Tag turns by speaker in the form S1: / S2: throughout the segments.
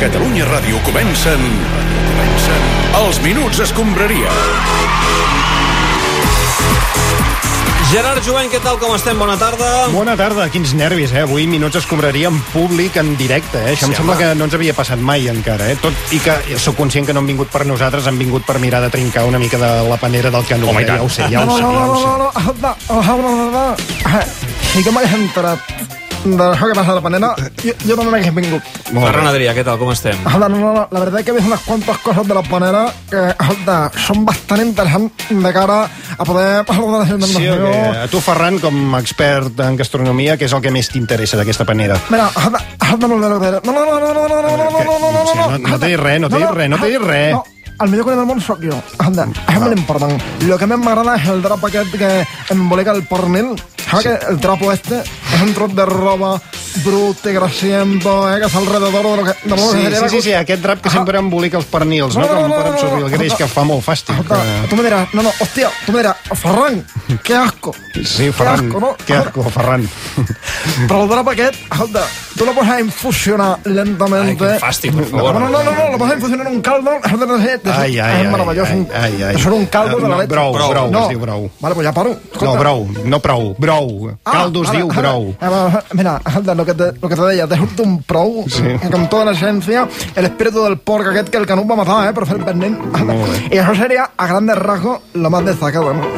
S1: Catalunya Ràdio comencen... comencen... Els Minuts Escombraria.
S2: Gerard Jovany, què tal, com estem? Bona tarda.
S3: Bona tarda, quins nervis, eh? Avui Minuts escombraria en públic, en directe, eh? Això
S2: Sí,
S3: em sembla
S2: home.
S3: que no ens havia passat mai encara, eh? Tot i que sóc conscient que no han vingut per nosaltres, han vingut per mirar de trincar una mica de la panera del Canut.
S2: Home, i
S3: eh?
S2: tant.
S3: ja ho sé, ja ho sé, ja ho sé.
S4: Sí que m'he enterat de això que pasa a la panera. Yo, yo también me he vingut.
S3: Molt bé.
S2: Ferran Adrià, què tal, com estem?
S4: Hola, no, no, no, la verdad es que he visto unas cuantas cosas de la panera que escolta, son bastante interesantes de cara a poder parlar de la
S3: Sí, o què? A tu, Ferran, com a expert en gastronomia, què és el que més t'interessa d'aquesta panera?
S4: Mira, escolta, escolta molt bé, Lorena. no, no, no, no, no, no, no, no, no, no, no, no,
S3: Sí, no- no
S4: escolta,
S3: t'he dit res, no t'he dit res, no t'he dit res.
S4: no, el millor cuiner del món sóc jo. Anda, és molt important. Lo que més m'agrada és el drap aquest que embolica el pernil. Saps que el trapo este és un trot de roba brut i grasiento, eh, que és alrededor de lo que... De lo
S3: Sí,
S4: que
S3: sí, sí, sí, aquest drap que sempre embolica els pernils,
S4: No,
S3: no?
S4: no,
S3: Com
S4: no,
S3: per
S4: no, no,
S3: absorbir el greix,
S4: no.
S3: que fa molt fàstic. eh.
S4: Escolta,
S3: que-
S4: tu me diràs, no, no, hòstia, tu me diràs, Oh, Ferran, que asco.
S3: Sí,
S4: Que
S3: Ferran,
S4: asco, no?
S3: que asco, Ferran.
S4: Però el drap aquest, escolta, tu lo pots infusionar lentament. eh?
S2: Ai, quin fàstic, per favor.
S4: No, no, no, no, no lo pots infusionar en un caldo. escolta, no sé, te-
S3: Ai, ai,
S4: Ah, és
S3: ai,
S4: meravellós.
S3: ai, ai, ai. Eh,
S4: Te surt un caldo de
S3: No,
S4: la leche.
S3: brou,
S2: Brou.
S3: brou,
S4: no.
S3: es diu brou.
S4: Vale, pues ja paro.
S3: No,
S4: Escolta.
S3: brou, no prou, brou.
S4: Ah,
S3: Caldos
S4: ara,
S3: diu
S4: ara,
S3: brou.
S4: ara, Mira, escolta, lo que te, lo que te deia, te surt un prou, eh, con toda la esencia, el espíritu del porc aquest que el Canut va matar, eh, per fer el pernil. I això seria, a grandes rasgos, lo más destacado. no?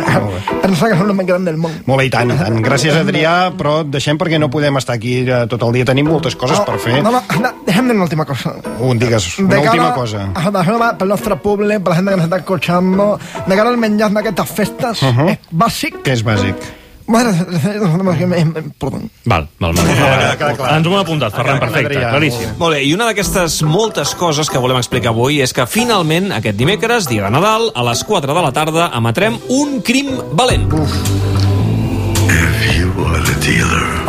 S4: Pensa que són los més grans del món.
S3: Molt bé, i tant, i tant. Gràcies, Adrià, però et deixem perquè no podem estar aquí eh, tot el dia. Tenim moltes coses per fer.
S4: No, no, anda, déjame una última cosa.
S3: Un, digues,
S4: Ah, de
S3: una
S4: cara
S3: última cosa.
S4: A la jove, pel nostre públic, per la gent que ens està escoltant, de cara al menjar d'aquestes festes, uh -huh. és bàsic...
S3: Que és bàsic.
S4: Bueno, perdó.
S5: Val, val, val.
S3: queda Ah, clar.
S5: Ens ho hem apuntat, Ferran, perfecte,
S3: Adrià,
S5: claríssim.
S2: Molt bé, i una d'aquestes moltes coses que volem explicar avui és que finalment, aquest dimecres, dia de Nadal, a les 4 de la tarda, emetrem un crim valent.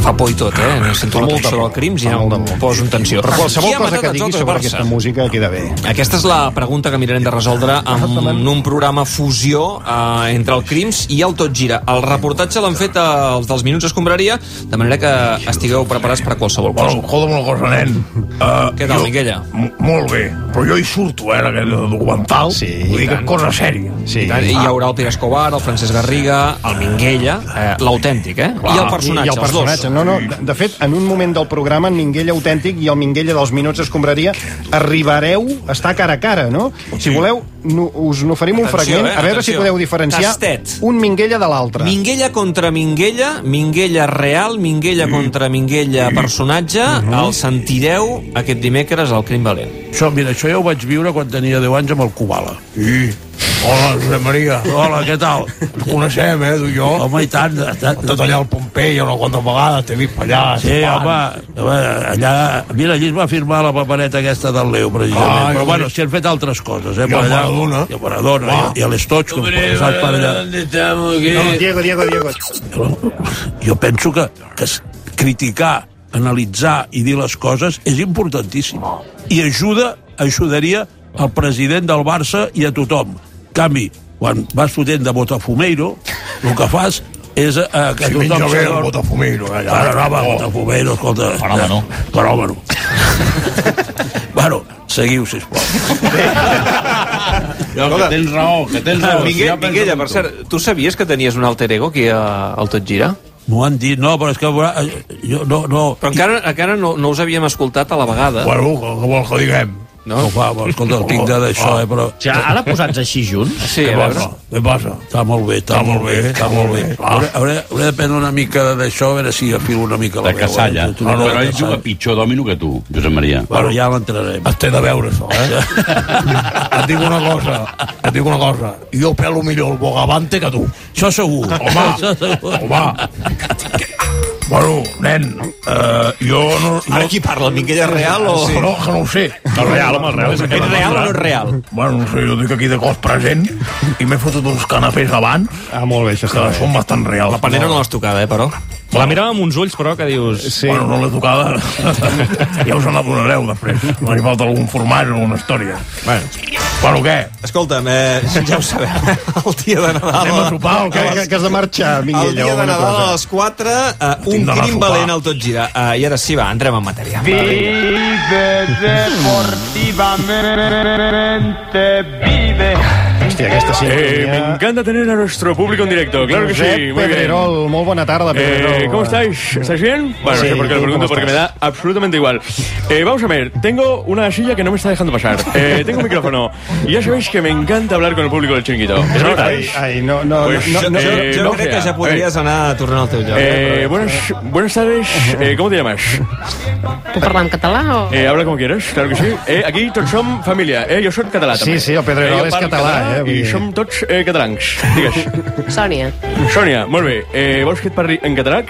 S2: Fa por i tot, eh? No sento la
S3: molta
S2: cançó
S3: por,
S2: del crims i
S3: Ah, fa
S2: ja
S3: molta
S2: em
S3: por.
S2: poso en tensió.
S3: Però
S2: Qui
S3: qualsevol
S2: ha
S3: cosa
S2: matat
S3: que
S2: els
S3: diguis
S2: altres
S3: sobre
S2: Barça?
S3: aquesta música queda bé.
S2: Aquesta és la pregunta que mirarem de resoldre en un programa fusió eh, entre el Crims i el Tot Gira. El reportatge l'han fet eh, els dels Minuts Escombraria, de manera que estigueu preparats per a qualsevol cosa.
S6: Bueno, escolta'm una cosa, nen. Uh,
S2: Què tal, Miquella?
S6: Molt bé, però jo hi surto, eh, en aquest documental.
S3: Sí,
S6: Vull
S3: i
S6: dir que
S3: tant.
S6: cosa sèria.
S3: Sí.
S2: I hi haurà el Pere Escobar, el Francesc Garriga, el Minguella, eh, l'autèntic, eh? I el personatge,
S3: I el personatge.
S2: els dos.
S3: No, no, de, de fet, en un moment del programa, en Minguell autèntic i el Minguella dels Minuts Escombraria, arribareu a estar cara a cara, no? Si voleu, no, us n'oferim un
S2: Atenció,
S3: fragment,
S2: eh?
S3: a veure si
S2: Atenció.
S3: podeu diferenciar
S2: Tastet.
S3: un Minguella de l'altre.
S2: Minguella contra Minguella, Minguella real, Minguella contra Minguella personatge, el sentireu aquest dimecres al Crim Valent.
S6: Això, mira, això ja ho vaig viure quan tenia 10 anys amb el Kubala. I... Hola, Josep Maria. Hola, què tal? Ens coneixem, eh, tu i jo. Home, i tant. Tot allà al Pompei, una quanta vegada t'he vist per allà.
S7: Sí, home, home, allà... Mira, allí es va firmar la papereta aquesta del Leo, precisament.
S6: Ai,
S7: Ai, però,
S6: home.
S7: bueno, s'hi han fet altres coses, eh?
S6: Ah, I el Maradona.
S7: I el Maradona,
S6: Ah. eh,
S7: i, i l'Estoig, que hem passat per allà.
S3: No, Diego, Diego, Diego.
S7: Jo penso que, que s- criticar, analitzar i dir les coses és importantíssim. I ajuda, ajudaria al president del Barça i a tothom. En canvi, quan vas fotent de Botafumeiro, el que fas és eh, que
S6: Si
S7: tothom
S6: menja bé el
S7: s'adormi.
S6: Botafumeiro, eh, Oh. allà.
S7: Ara no, va, Botafumeiro, escolta... Fenòmeno. Fenòmeno. bueno, seguiu, sisplau.
S8: Que tens raó, que tens raó.
S2: Minguella, Minguella, per cert, tu sabies que tenies un alter ego aquí a- al Tot Gira?
S7: M'ho han dit, no, però és que... eh, Jo, no, no...
S2: Però encara, encara no, no us havíem escoltat a la vegada.
S6: Bueno, què vols que diguem? Oh,
S7: No, va, va, escolta, el tinc de d'això, eh, però...
S8: Ja, ara posats així junts?
S2: Sí, a veure.
S6: Què passa?
S7: Està molt bé, està, molt bé, està molt bé.
S6: Ah.
S7: Hauré, hauré, hauré de prendre una mica de- d'això, a veure si afilo una mica la
S8: De
S7: veu.
S8: Casalla.
S7: eh? Tu no
S8: No, no, però ell
S7: Casalla.
S8: juga pitjor d'òmino que tu, Josep Maria.
S7: Bueno, ja l'entrarem.
S6: Es té de veure, això, eh? et dic una cosa, et dic una cosa. Jo pelo millor el bogavante que tu.
S7: Això segur.
S6: Home,
S7: Això segur.
S6: home. Bueno, nen, eh, jo no... no
S2: Ara qui parla, el Minguella real o...
S6: Sí. No, que no ho sé. El real, home, el real és
S2: És real o no és real?
S6: Bueno, no sé, jo dic aquí de cos present i m'he fotut uns canapés abans
S3: Ah, molt bé, això
S6: que
S3: està bé.
S6: són bastant reals.
S2: La panera no l'has tocada, eh, però?
S5: La mirava amb uns ulls, però, que dius...
S6: Sí. Bueno, no l'he tocada. ja us en adonareu després. No hi falta algun formatge o una història.
S5: Bueno.
S6: Bueno, què?
S2: Escolta'm, eh, ja ho sabeu, el dia de Nadal...
S6: Anem a sopar o
S3: Que, que,
S6: què?
S3: que has de marxar, Minguella.
S2: El dia
S3: o
S2: de
S3: alguna
S2: Nadal
S3: cosa.
S2: a les 4, eh, un
S6: d'anar a
S2: crim
S6: sopar.
S2: valent al tot gira. Eh, I ara sí, va, entrem en matèria.
S9: Vive deportivamente, vive.
S3: Hòstia, aquesta
S10: Eh, me
S3: sintonia...
S10: encanta tener a nuestro público en directo, claro que
S3: Josep
S10: sí, muy bien.
S3: Pedrerol, molt bona tarda, Pedrerol.
S10: Eh, ¿Cómo estáis? ¿Estáis bien? Bueno,
S3: Sí,
S10: no sé por qué
S3: ¿tú
S10: lo
S3: cómo
S10: pregunto, porque me da absolutamente igual. Eh, vamos a ver, tengo una silla que no me está dejando pasar. Eh, tengo un micrófono. Y ya sabéis que me encanta hablar con el público del chinguito. ¿Es verdad?
S3: Ai, ai, no, no,
S10: Pues,
S3: no, no,
S2: Jo,
S3: no,
S10: eh,
S2: jo
S10: no
S2: crec
S10: fea.
S2: que ja podries anar a tornar al teu lloc.
S10: Eh, buenas, buenas tardes, eh, ¿cómo te llamas?
S11: Puc parlar en català o...?
S10: Eh, habla como quieras, claro que sí. Eh, aquí tots som família, eh, jo soc català
S3: Sí,
S10: també.
S3: sí, el Pedrerol
S10: jo
S3: és
S10: parlo
S3: català, eh, vull
S10: I
S3: dir.
S10: som tots eh, catalans, digues.
S11: Sònia.
S10: Sònia, molt bé. Eh, vols que et parli en català?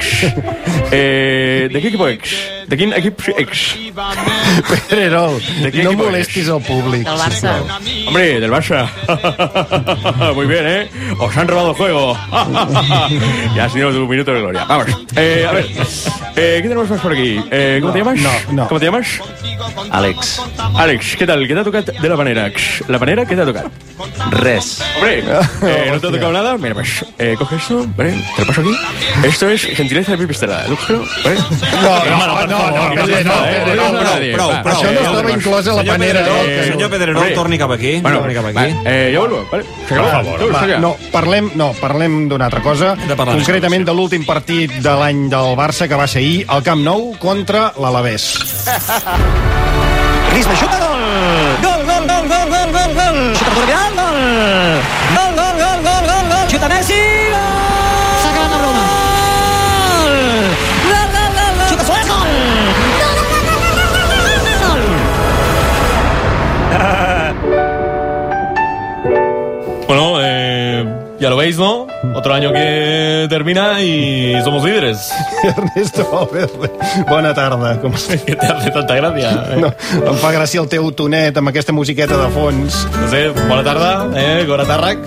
S10: Eh, de quin equip ex? De quin equip ex?
S3: Pedrerol,
S10: De quin
S3: no
S10: equip
S3: molestis el públic.
S11: Del Barça.
S3: sisplau.
S10: Hombre, del Barça. Muy bien, ¿eh? Os han robado el juego. ya has tenido tu minuto de gloria. Vamos. Eh, a ver, eh, ¿qué tenemos más por aquí? Eh, ¿Cómo te llamas?
S3: no, no.
S10: ¿Cómo te llamas?
S12: Àlex,
S10: Àlex, ¿qué tal? ¿Qué te ha tocado de la panera? ¿La panera qué te ha tocado?
S12: res.
S10: Hombre, eh, ¿no te ha tocado nada? Mira, pues, eh, coge esto, ¿vale? Te lo paso aquí. Esto es gentileza de mi pistola. ¿Lo cogeo? ¿Vale?
S3: No, no, no, no,
S10: no,
S3: Pedrerol,
S10: no,
S3: Pedrerol,
S10: no,
S3: no.
S10: no,
S2: prou,
S10: va,
S2: prou.
S3: Això no estava inclòs a la
S2: Senyor
S3: panera.
S2: Pedrerol,
S10: eh,
S2: senyor Pedrerol,
S10: hombre.
S2: torni cap aquí. Torni cap
S10: va,
S2: aquí.
S10: eh, ja vuelvo, ¿vale? Se acabó. Tú,
S3: Va,
S10: Sonia.
S3: no, parlem, no, parlem d'una altra cosa,
S2: de parlar d'altres
S3: concretament de l'últim partit de l'any del Barça que va ser ahir al Camp Nou contra l'Alavés.
S9: Crisma, xuta gol! Gol, gol, gol, gol, gol, gol, gol! Xuta per Vidal, gol! Gol, gol, gol, gol, gol, gol! Xuta Messi, gol! S'ha acabat la broma. Gol! Gol, gol, gol, gol! Xuta Suárez, gol! Gol, gol, gol, gol, gol, gol, gol, gol, gol!
S10: Bueno, eh, ya lo veis, ¿no? Otro año que termina y somos líderes.
S3: Ernesto Valverde, bona tarda. Com estàs?
S10: ¿Qué te hace tanta gracia? eh?
S3: No, em fa gràcia el teu tonet amb aquesta musiqueta de fons.
S10: No sé, buena tarde, eh, Gora Tarrak.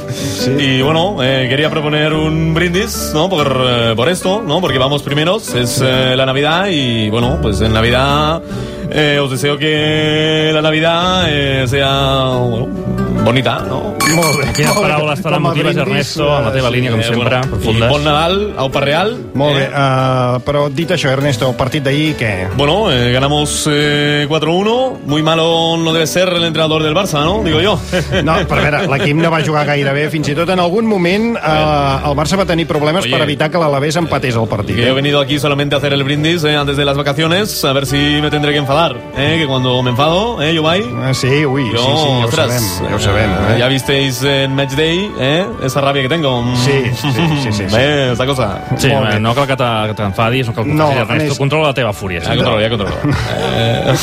S10: Y bueno, eh, quería proponer un brindis, ¿no? Por, eh, por esto, ¿no? Porque vamos primeros, es eh, la Navidad y bueno, pues en Navidad eh, os deseo que la Navidad eh, sea, bueno, bonita, ¿no?
S3: Molt bé.
S5: Quines
S3: molt bé.
S5: paraules tan
S3: Com a
S5: emotives,
S3: brindis,
S5: Ernesto, en la
S3: eh,
S5: teva línia, com
S10: Eh,
S5: sempre,
S10: bueno, y bon
S5: profundes.
S10: Nadal, Aupa Real.
S3: Molt
S10: eh,
S3: bé, uh, però dit això, Ernesto, el partit d'ahir, què?
S10: Bueno, eh, ganamos eh, 4-1. Muy malo no debe ser el entrenador del Barça, ¿no? Digo yo.
S3: No, però a veure, l'equip no va jugar gaire bé, fins i tot en algun moment eh, el Barça va tenir problemes
S10: Oye.
S3: per evitar que l'Alavés empatés el partit.
S10: Que he
S3: Eh?
S10: venido aquí solamente a hacer el brindis eh, antes de las vacaciones, a ver si me tendré que enfadar. eh, que cuando me enfado, eh, yo voy.
S3: Ah, sí, ui, sí,
S10: Yo,
S3: sí, ja ho
S10: ostras,
S3: sabem, ja ho sabem.
S10: eh, Ya
S3: Eh?
S10: visteis en Match Day eh, esa rabia que tengo. Mm.
S3: Sí, sí, sí, sí, sí.
S10: Eh, esa cosa.
S5: Sí,
S3: Molt bé.
S5: no cal que te- que t'enfadis, no cal que
S3: No,
S5: t'enfadis, Ernesto.
S3: Ernest.
S5: Controla la teva fúria.
S10: Ya
S5: sí.
S10: Ah, controlo, ya controlo.
S3: Eh,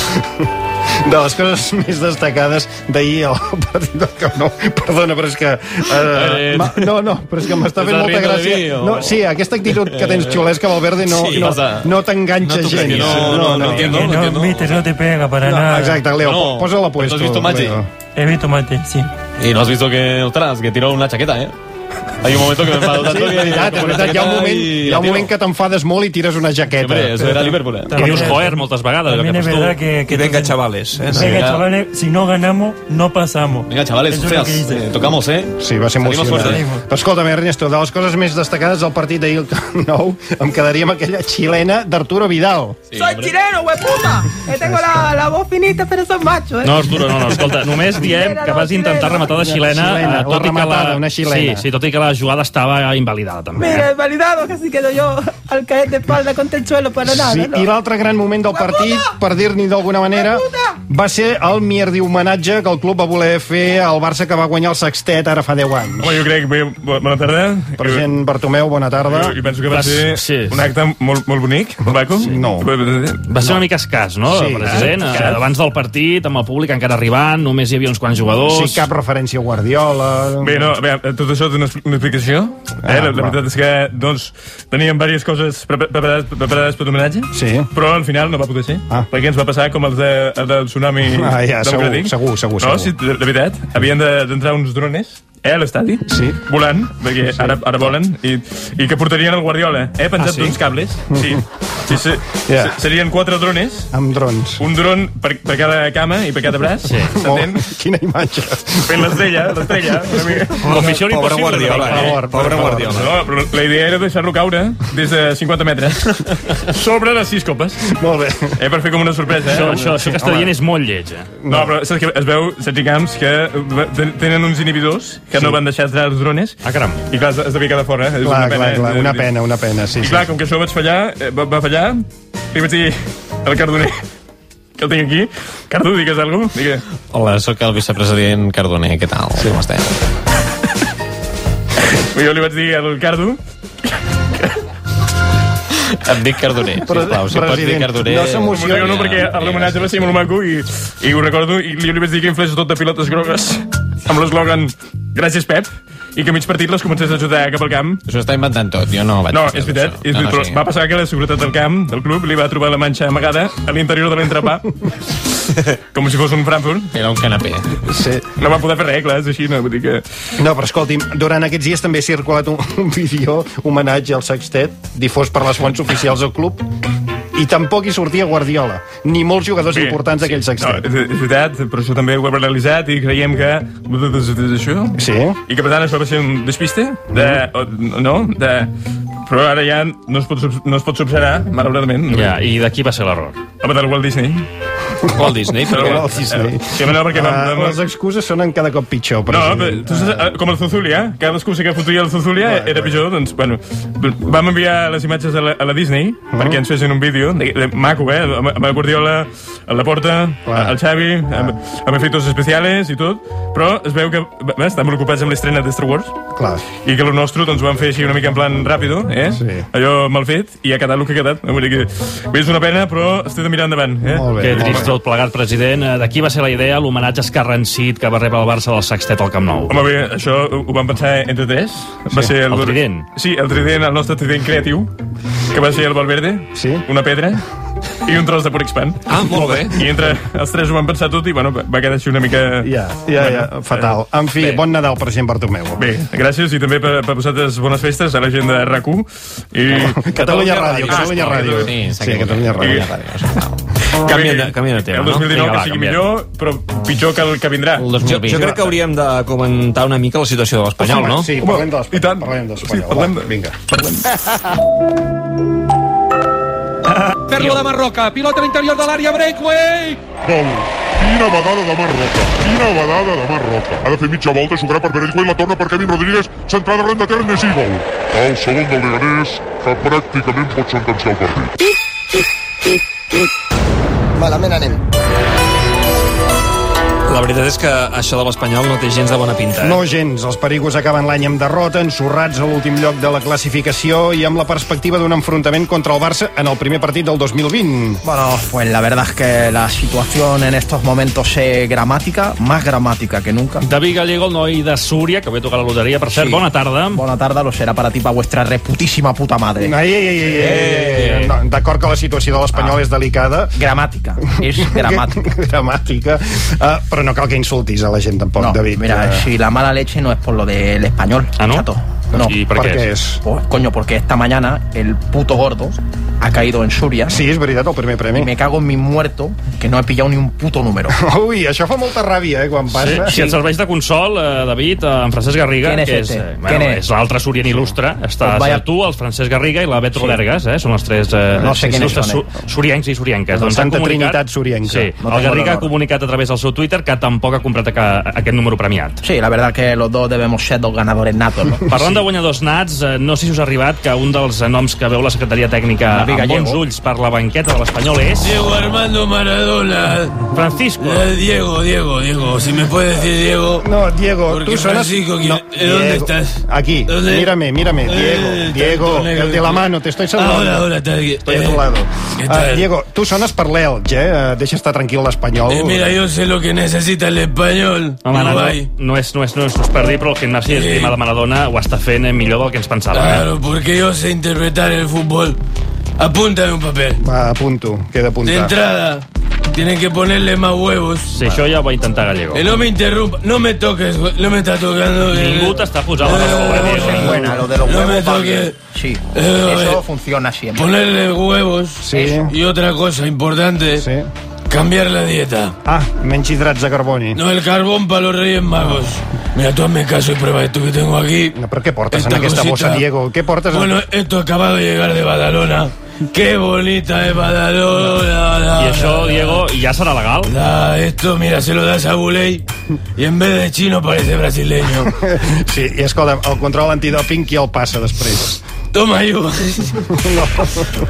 S3: De les coses més destacades d'ahir al partit del Camp Nou. Perdona, però és que... Eh,
S10: Eh,
S3: ma- no, no, però és que m'està fent
S10: Estàs
S3: molta
S10: rient de
S3: gràcia.
S10: mi, o-
S3: No, sí, aquesta actitud que tens xulesca, Valverde, no,
S10: Sí,
S3: no,
S10: passa.
S3: no t'enganxa
S10: No t'ho
S3: gens.
S10: creguis. No, no, no entiendo, no entiendo.
S9: no te pega para
S3: No, exacte, Leo,
S10: No,
S3: posa la
S10: però
S3: puesto.
S10: has visto Magic?
S3: Leo.
S8: eh?
S9: He visto mate, sí.
S10: Y no has visto que, ostras, que tiró una chaqueta, ¿eh? Hay un momento que me enfado
S3: Sí,
S10: tanto
S3: és
S10: que...
S3: veritat, és
S10: como una
S3: veritat. Hi ha un
S10: chaqueta
S3: moment,
S10: y
S3: hi
S10: la
S3: ha un
S10: tiro.
S3: moment que t'enfades molt i tires una jaqueta.
S10: Hombre, eso era Liverpool, eh.
S5: I dius joer moltes vegades, allò que fas tu.
S9: que...
S2: I venga, chavales. Eh?
S10: Venga,
S9: Venga,
S10: chavales,
S9: chavales, si no ganamos, no pasamos.
S10: Venga, chavales, ostras, eh, tocamos, ¿eh?
S3: Sí, va ser
S10: Salimos
S3: emocionant.
S10: fuertes.
S3: Però escolta'm, Ernesto, de les coses més destacades del partit d'ahir al Camp Nou, em quedaria amb aquella xilena d'Arturo Vidal.
S10: Sí,
S11: Soy
S10: hombre.
S11: chileno, hueputa! Que tengo la, la voz finita, pero soy macho, eh?
S5: No, Arturo, no, no, escolta, només diem que vas intentar rematar de xilena,
S3: Xilena,
S5: eh, tot
S3: una
S5: i que
S3: rematada,
S5: la...
S3: una xilena.
S5: Sí, sí, tot i que la jugada estava invalidada, també.
S11: Mira, es validado, casi quedo yo al caer de espalda contra el suelo para nada,
S3: Sí,
S11: ¿no?
S3: I l'altre gran moment del partit, per dir-n'hi d'alguna manera, va ser el mierdi homenatge que el club va voler fer al Barça que va guanyar el sextet ara fa 10 anys.
S10: Home, jo crec... Bé, bo- bona tarda.
S3: President Bartomeu, bona tarda.
S10: Jo, jo penso que va
S5: Vas-
S10: ser
S5: sí.
S10: un acte molt, molt bonic, molt maco. Sí.
S3: No.
S5: Va ser una mica escàs, no,
S3: Sí,
S5: president? Eh, Abans del partit, amb el públic encara arribant, només hi havia uns quants
S3: Sí,
S5: jugadors...
S3: cap referència a Guardiola...
S10: Bé, no, bé, tot això té una, expli- una explicació. Eh?
S3: Ah,
S10: la,
S3: va.
S10: la veritat és que, doncs, teníem diverses coses prepa- preparades, preparades per l'homenatge,
S3: Sí.
S10: però al final no va poder ser,
S3: Ah.
S10: perquè ens va passar com els, de, el del tsunami
S3: Ah, ja, segur,
S10: democràtic.
S3: segur, segur,
S10: No,
S3: segur.
S10: sí, de, de veritat, havien de- d'entrar uns drones, eh, a l'estadi,
S3: Sí.
S10: volant, perquè sí. ara, ara volen, i, i que portarien el Guardiola, eh, penjat
S3: Ah, sí?
S10: d'uns cables. Sí.
S13: Sí, sí.
S3: Ja.
S13: Se- Serien quatre drones.
S3: Amb drons.
S13: Un dron per, per cada cama i per cada braç. Sí. S'entén?
S3: Oh, Quina imatge.
S13: Fent l'estrella, l'estrella. una mica.
S3: Com Missió Pobre Impossible, Guardiola, eh? eh? Pobre Pobre Guardiola.
S13: No, però la idea era deixar-lo caure des de 50 metres. Sobre les sis copes.
S3: Molt bé.
S13: Eh, per fer com una sorpresa, eh?
S5: Això, això, això que està dient és molt lleig, eh?
S13: No, però saps que es veu, Sergi Camps, que eh, ten- tenen uns inhibidors que sí. no van deixar entrar els drones. Ah, caram. I clar, es devia quedar fora. És
S3: Clar,
S13: una pena,
S3: clar, clar.
S13: eh?
S3: Una pena, una pena, sí.
S13: I
S3: sí.
S13: clar, com que això vaig fallar, eh, va, va fallar, li vaig dir al cardoner, que el tinc aquí, Cardo, digues alguna cosa? Digue.
S14: Hola, sóc el vicepresident Cardoner, què tal? Sí. Com estem?
S13: Jo li vaig dir al Cardo...
S14: Em dic Cardoner, sisplau, si pots dir Cardoner... eh,
S13: No, no, perquè l'homenatge va ser molt maco i, i ho recordo, i jo li vaig dir que inflés tot de pilotes grogues amb l'eslògan Gràcies, Pep, i que a mig partit les comencés a ajudar cap al camp.
S14: S'ho està inventant tot, jo no vaig
S13: No,
S14: fer
S13: és veritat,
S14: això.
S13: és
S14: No, no,
S13: veritat però
S14: sí.
S13: va passar que la seguretat del camp, del club, li va trobar la manxa amagada a l'interior de l'entrepà, com si fos un Frankfurt.
S14: Era un canapé.
S3: Sí.
S13: No va poder fer regles, així, no, vull dir que...
S3: No, però escolti'm, durant aquests dies també ha circulat un, un vídeo homenatge al sextet difós per les fonts oficials del club i tampoc hi sortia Guardiola, ni molts jugadors
S13: Bé,
S3: importants d'aquell sextet.
S13: No, és, és veritat, però això també ho hem analitzat i creiem que... Això?
S3: Sí.
S13: I que, per tant, això va ser un despiste de... O, no? De... Però ara ja no es pot, sub- no es pot subsanar, malauradament.
S5: Ja, i d'aquí va ser l'error.
S13: Home, del Walt Disney.
S2: Walt Disney,
S13: però...
S3: Walt Disney.
S13: Sí, home, Eh, no, perquè... vam-
S3: Ah,
S13: vam-
S3: les excuses sonen cada cop pitjor.
S13: No,
S3: Però sí.
S13: però, tu saps, eh, com el Zuzulia, cada excusa que fotia el Zuzulia era pitjor, doncs, bueno, vam enviar les imatges a la, a la Disney perquè ens fessin un vídeo, de, de, maco, eh, amb, amb el Guardiola, a la Porta, el Xavi, amb, amb efectos especiales i tot, però es veu que va, va, estàvem ocupats amb l'estrena de Star Wars
S3: Clar.
S13: i que el nostre doncs, ho van fer així una mica en plan ràpido, eh? Sí. Allò mal fet, i ha quedat el que ha quedat. Vull dir que, bé, és una pena, però estic de mirar endavant. Eh?
S5: que dins tot plegat, president, eh, d'aquí va ser la idea l'homenatge escarrancit que va rebre el Barça del sextet al Camp Nou.
S13: Home, bé, això ho vam pensar entre tres. Va
S5: Sí,
S13: ser el,
S5: el trident.
S13: Sí, el trident, el nostre trident creatiu, que va ser el Valverde, sí. una pedra i un tros de Purixpan.
S2: Ah, molt bé.
S13: I entre els tres ho vam pensar tot i, bueno, va quedar així una mica...
S3: Ja, ja, ja, fatal. En fi,
S13: Bé.
S3: bon Nadal, president Bartomeu.
S13: Bé, gràcies i també per, per vosaltres bones festes a la gent de RAC1 i...
S3: Catalunya Ràdio, Catalunya Ràdio. Sí, Catalunya Ràdio.
S13: Canvien
S2: de, canvien de tema,
S13: El
S2: no?
S13: 2019
S2: Vinga, va,
S13: que sigui
S2: canviem.
S13: millor, però pitjor que el que vindrà.
S2: Jo, jo crec que hauríem de comentar una mica la situació de l'Espanyol, no?
S3: Sí, parlem de l'Espanyol. I tant. Parlem de l'Espanyol. Sí, parlem de... Vinga.
S10: Fer-lo de Marroca, pilota a l'interior de l'àrea, breakaway!
S15: Gol. Quina vedada de Marroca. Quina vedada de Marroca. Ha de fer mitja volta, jugarà per Berenguer, la torna per Kevin Rodríguez, centrada arran de Ternes i gol. El segon del Leganés, que pràcticament pot sentenciar el partit.
S16: Malament anem.
S2: La veritat és que això de l'Espanyol no té gens de bona pinta. Eh?
S3: No gens, els perigos acaben l'any amb derrota, ensorrats a l'últim lloc de la classificació i amb la perspectiva d'un enfrontament contra el Barça en el primer partit del 2020.
S16: Bueno, pues la verdad es que la situación en estos momentos es gramática, más gramática que nunca.
S5: David Gallego, el noi de Súria, que ve a tocar la loteria, per cert,
S16: Sí.
S5: bona tarda.
S16: Bona tarda, lo será para ti, para vuestra reputísima puta madre.
S3: Ai, ai, ai, ai, ai, ai. No, D'acord que la situació de l'Espanyol és delicada.
S16: Ah. Gramàtica. És gramàtica.
S3: gramàtica. Uh, però no cal que insultis a la gent, tampoc,
S16: No,
S3: David.
S16: mira,
S3: Eh,
S16: si la mala leche no es por lo del español,
S3: no?
S16: chato. No.
S3: ¿Y por ¿Por qué qué es? es?
S16: Pues, coño, porque esta mañana el puto gordo ha caído en Suria.
S3: Sí, es verdad, el primer premio.
S16: Y me cago en mi muerto, que no he pillado ni un puto número.
S3: Ui, això fa molta ràbia, eh, quan
S5: Sí,
S3: passa.
S5: si et serveix de consol, eh, David, eh, en Francesc Garriga,
S16: ¿Quién es
S5: que és,
S16: este?
S5: eh,
S16: ¿Quién
S5: bueno,
S16: es?
S5: és l'altre Surien il·lustre, està
S16: Pues vaya-
S5: vaya... tu, el Francesc Garriga i la Bet
S16: Sí.
S5: Rodergas, eh, són els tres eh,
S16: No sé quiénes
S5: il·lustres
S16: són,
S5: su- suriencs i surienques.
S3: La
S5: han
S3: Santa Trinitat surienca.
S5: Sí, el
S3: No tengo
S5: Garriga
S3: l'honor.
S5: ha comunicat a través del seu Twitter que tampoc ha comprat a- aquest número premiat.
S16: Sí, la verdad que los dos debemos ser dos ganadores natos, ¿no?
S5: Parlant de guanyadors nats, eh, no sé si us ha arribat que un dels eh, noms que veu la secretaria tècnica
S16: David
S5: amb bons
S16: Gallego.
S5: ulls per la banqueta de l'Espanyol és...
S17: Diego Armando Maradona. Eh,
S5: Francisco.
S17: Diego, Diego, Diego. Si me puedes decir Diego.
S3: No, Diego,
S17: Porque
S3: tú suenas...
S17: Francisco, ¿quién-
S3: No,
S17: eh, ¿dónde
S3: Diego.
S17: estás?
S3: Aquí,
S17: ¿Dónde?
S3: mírame, mírame.
S17: Eh,
S3: Diego, Diego,
S17: tanto negro.
S3: el de la mano, te estoy saludando.
S17: Ahora, ahora, está aquí.
S3: Estoy a
S17: Eh,
S3: tu lado.
S17: ¿qué
S3: Ah,
S17: tal?
S3: Diego, tu sones per l'Elx, eh? Eh, Deixa estar tranquil l'Espanyol.
S17: Eh, mira, yo sé lo que necesita el español.
S5: Home, no,
S17: Uruguay.
S5: no, no, és, no, és, no és per dir, però el Ken Messi, estima de Maradona, ho està fent eh, millor del que ens pensava.
S17: Claro, porque yo sé interpretar el fútbol. Apúntame un papel.
S3: Va, apunto, queda
S17: De
S3: apuntat.
S17: entrada, Tienen que ponerle más huevos.
S5: Sí, això ja ho va intentar Gallego.
S17: Que no me interrumpa, no me toques, güey. no me está tocando. eh.
S5: Ningú t'està posant la roba,
S16: Es
S5: Diego.
S16: buena, lo de los
S17: No me
S16: huevos. vale.
S17: toques.
S16: Sí,
S17: Eh,
S16: eso
S17: eh,
S16: funciona siempre.
S17: Ponerle huevos. Y otra cosa importante. Cambiar la dieta.
S3: Ah, menys hidrats de carboni.
S17: No el carbón para los Reyes Magos. Mira, tú hazme caso y prueba esto que tengo aquí.
S3: ¿Pero qué portas en aquesta bossa, Diego? Què portes? en-
S17: Bueno, esto acabado de llegar de Badalona. Qué bonita es Badalona.
S5: I això, Diego, ja serà legal?
S17: Da, esto, mira, se lo das a Buley y en vez de chino parece brasileño.
S3: Sí, i escolta, el control antidoping qui el passa després?
S17: Toma, ayuda.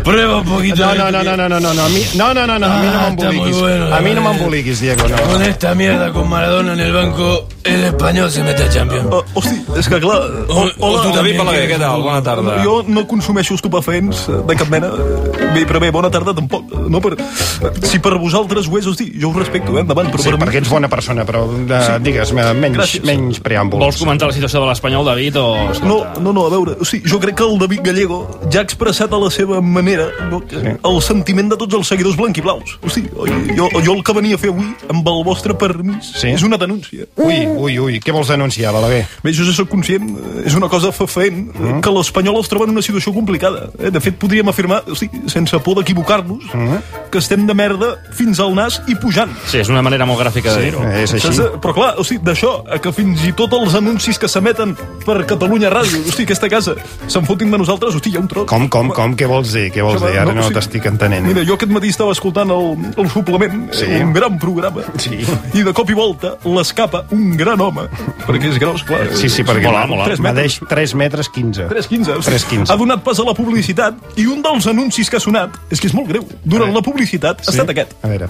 S17: Prueba un poquito.
S3: No, no, no, no, no, no, no, no, a mi, no, no, no, no, a mi no
S17: Ah, está muy
S3: m'emboliquis.
S17: bueno,
S3: a mi no
S17: eh.
S3: m'emboliquis, Diego, no.
S17: Con esta mierda con Maradona en el banco, el español se mete a Champions.
S2: Oh,
S17: Oh,
S18: Hosti, és que clar...
S17: O- o tu també,
S2: Balaguer, què tal? Bona tarda.
S18: Jo no consumeixo estupefents eh, de cap mena. Eh, Bé, però bé, bona tarda tampoc. eh, No per... eh, Si per vosaltres ho és, hosti, jo ho respecto, eh, endavant, però
S3: Sí,
S18: per mi...
S3: perquè ets bona persona, però de, sí. digues, me- menys,
S18: Gràcies.
S3: menys preàmbuls.
S5: Vols comentar la situació de l'Espanyol, David, o...
S18: No, no, no, a veure, o sigui, jo crec que el David Gallego ja ha expressat a la seva manera no, que- el sentiment de tots els seguidors blanquiblaus. O sigui, jo, jo el que venia a fer avui, amb el vostre permís,
S3: Sí?
S18: és una denúncia.
S3: Ui, ui, ui, què vols denunciar, Balaguer?
S18: Bé, jo ja sóc conscient, eh, és una cosa fafent, mm. que l'Espanyol es troba en una situació complicada. Eh? De fet, podríem afirmar, o sigui, sense por d'equivocar-nos, mm. que estem de merda fins al nas i pujant.
S5: Sí, és una manera molt gràfica de dir-ho.
S18: Saps, eh? Però clar, o sigui, d'això, a que fins i tot els anuncis que s'emeten per Catalunya Ràdio, hosti, aquesta casa, se'n fotin de nosaltres, hosti, hi ha un tros.
S3: Com, com, com, què vols dir, què vols
S18: Això va,
S3: dir? Ara
S18: no,
S3: no
S18: sí.
S3: t'estic entenent.
S18: Mira, jo aquest matí estava escoltant el, el suplement,
S3: Sí.
S18: sí. un gran programa, sí. i de cop i volta l'escapa un gran home, perquè és gros, clar.
S3: Sí, sí, perquè
S18: Mola, mola. Tres metres.
S3: medeix 3 metres 15.
S18: 3.15.
S3: 3.15.
S18: Ha donat pas a la publicitat i un dels anuncis que ha sonat, és que és molt greu, durant la publicitat ha estat aquest.
S3: A veure.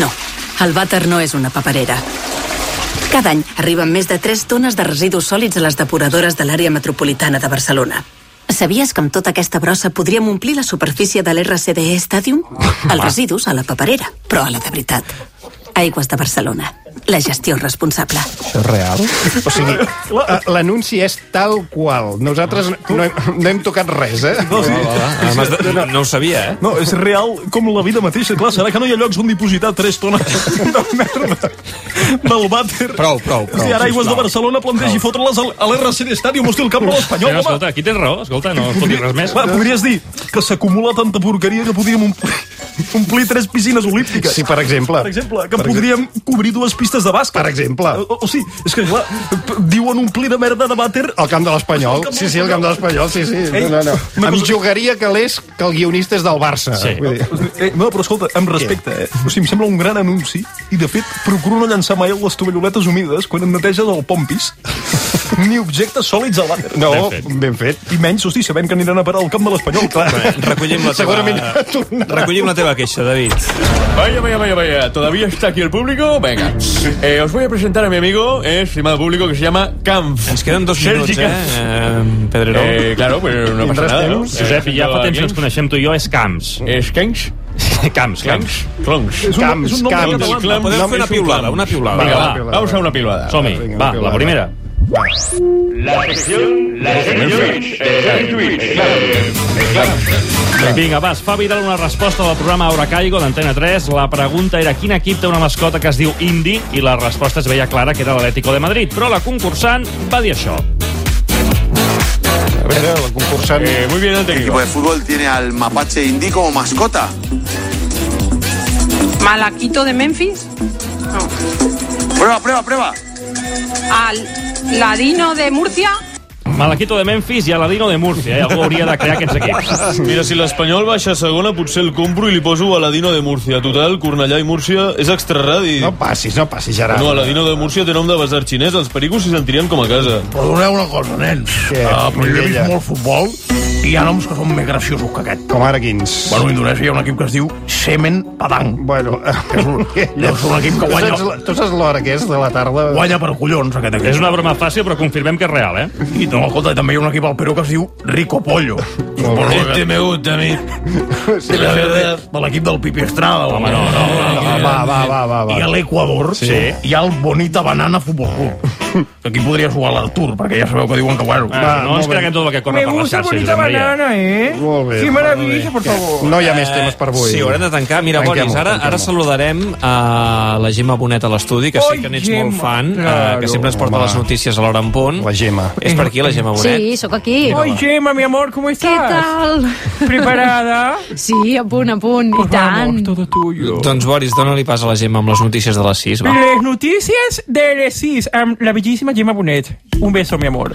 S19: No, el vàter no és una paperera. Cada any arriben més de 3 tones de residus sòlids a les depuradores de l'àrea metropolitana de Barcelona. Sabies que amb tota aquesta brossa podríem omplir la superfície de l'RCDE E Stadium? Els residus a la paperera, però a la de veritat. Aigües de Barcelona. La gestió responsable.
S16: Això és real?
S3: O sigui, eh, l'anunci és tal qual. Nosaltres
S6: Ah,
S3: no hem, no hem tocat res, eh?
S18: No, sí.
S2: Además, no, no ho sabia, eh?
S18: No, és real com la vida mateixa. Clar, serà que no hi ha llocs on dipositar 3 tones de merda del vàter.
S2: Prou, prou, prou,
S18: Hosti, ara Aigües
S2: sisplau.
S18: de Barcelona plantegi fotre-les al- a l'RCD Stadium. Hosti, el camp de
S5: Sí,
S18: l'Espanyol,
S5: no,
S18: home.
S5: escolta, aquí tens raó, escolta, no fotis res més.
S18: Clar, podries dir que s'acumula tanta porqueria que podríem omplir, omplir tres piscines olímpiques.
S3: Sí, per exemple.
S18: Per exemple, que
S3: Per
S18: podríem cobrir dues pistes de bàsquet. Per
S3: exemple.
S18: O, o sigui, és que clar, p- diuen omplir de merda de vàter...
S3: El camp de l'Espanyol. Sí, sí, el camp de l'Espanyol, sí, sí.
S18: Ei,
S3: No, no, no.
S18: una
S3: Em
S18: cosa-
S3: jugaria que l'és que el guionista és del Barça.
S18: Sí.
S3: Vull dir.
S18: Eh, no, però escolta, amb respecte, eh? O sigui, em sembla un gran anunci i, de fet, procuro no llançar mai les tovalloletes humides quan em neteges el pompis ni objectes sòlids al vàter.
S3: No, Ben fet. ben fet.
S18: I menys, hosti, sabent que aniran a parar al camp de l'Espanyol, clar.
S2: Bé, recollim la teva- Segurament Recollim la teva queixa, David.
S13: Vaya, vaya, vaya, vaya. ¿Todavía está aquí el público? Venga. Eh, os voy a presentar a mi amigo, eh, estimado público, que se llama Kampf. Nos
S2: quedan dos minutos, eh, eh, Pedrerol.
S13: Eh, claro, pues no pasa
S5: Tindràs
S13: nada, ¿no? Eh,
S5: temps? Josep, ja fa temps que ens coneixem tu i jo, és Camps.
S13: És Camps?
S5: Camps, Camps.
S13: Cloncs.
S5: És un-
S13: Camps,
S5: és un nom de
S13: camps,
S5: català.
S13: clams.
S5: Podem fer una
S13: És un
S5: piulada,
S13: clam.
S5: una piulada.
S13: Vinga,
S5: Va,
S13: va,
S5: piulada.
S13: vamos a una piulada.
S5: Som-hi,
S13: Vinga,
S5: va,
S13: una piulada.
S5: la primera.
S10: La
S5: Vinga, va, es fa viral una resposta del programa Aura Caigo d'Antena 3. La pregunta era quin equip té una mascota que es diu Indi i la resposta es veia clara que era l'Atlético de Madrid, però la concursant va dir això.
S3: A ver, la concursant...
S13: Eh, muy bien, el técnico.
S20: equipo de fútbol tiene al mapache indí como mascota.
S21: Malaquito de Memphis,
S20: Prueba, prueba, prueba.
S21: al Ladino de Murcia.
S5: Malaquito de Memphis i Aladino de Murcia. Eh? Algú hauria de crear aquests equips.
S13: Mira, si l'Espanyol baixa a segona, potser el compro i li poso a Ladino de Múrcia. Total, Cornellà i Múrcia és extraradi.
S3: No passis, no passis, Gerard.
S13: No, Aladino de Múrcia té nom de basar xinès. Els pericos s'hi sentirien com a casa.
S6: Perdoneu una cosa, nens.
S13: Què,
S6: Ah, però jo he
S13: Mireia?
S6: vist molt futbol i hi ha noms que són més graciosos que aquest.
S3: Com ara quins?
S6: Bueno, a Indonèsia hi ha un equip que es diu Semen Padang.
S3: Bueno...
S6: Que és un, és un equip que guanya...
S3: Tu saps, tu saps l'hora que és de la tarda?
S6: Guanya per collons, aquest equip.
S5: És una broma fàcil, però confirmem que és real, eh?
S6: I no, escolta, també hi ha un equip al Perú que es diu Rico Pollo.
S17: Este me gusta a mí.
S6: Sí, la verdad. De l'equip del Pipi Estrada. Home, no, no, no,
S3: Va, va, va, va, va.
S6: I a l'Equador
S3: Sí.
S6: sí. hi ha el Bonita Banana Futbol Club.
S7: Aquí podria jugar l'Artur, perquè ja sabeu que diuen que, bueno...
S6: Ah, no ens creguem tot el que corre per les xarxes, Josep Maria.
S9: ¿eh?
S17: Molt bé.
S9: Sí, maravilla, por favor.
S17: No hi ha més temes per avui.
S2: Sí, haurem de tancar. Mira,
S17: Tanquem-ho,
S2: Boris, ara,
S17: tanquem-ho.
S2: ara saludarem a la Gemma Bonet a l'estudi, que sé que n'ets
S17: Oi,
S2: molt
S17: Gemma.
S2: fan, eh,
S17: Claro.
S2: que sempre ens porta
S17: Home.
S2: les notícies a l'hora en punt. La
S17: Gemma.
S2: És per aquí, la Gemma Bonet?
S10: Sí, sóc aquí.
S9: Oi, Gemma, mi amor, ¿cómo estás?
S10: ¿Qué tal?
S9: Preparada?
S10: Sí, a punt, a punt, i tant.
S2: Doncs, Boris, dóna-li pas a la Gemma amb les notícies de les 6, va.
S9: Las noticias de Lesis, la bellísima Gemma Bonet. Un beso, mi amor.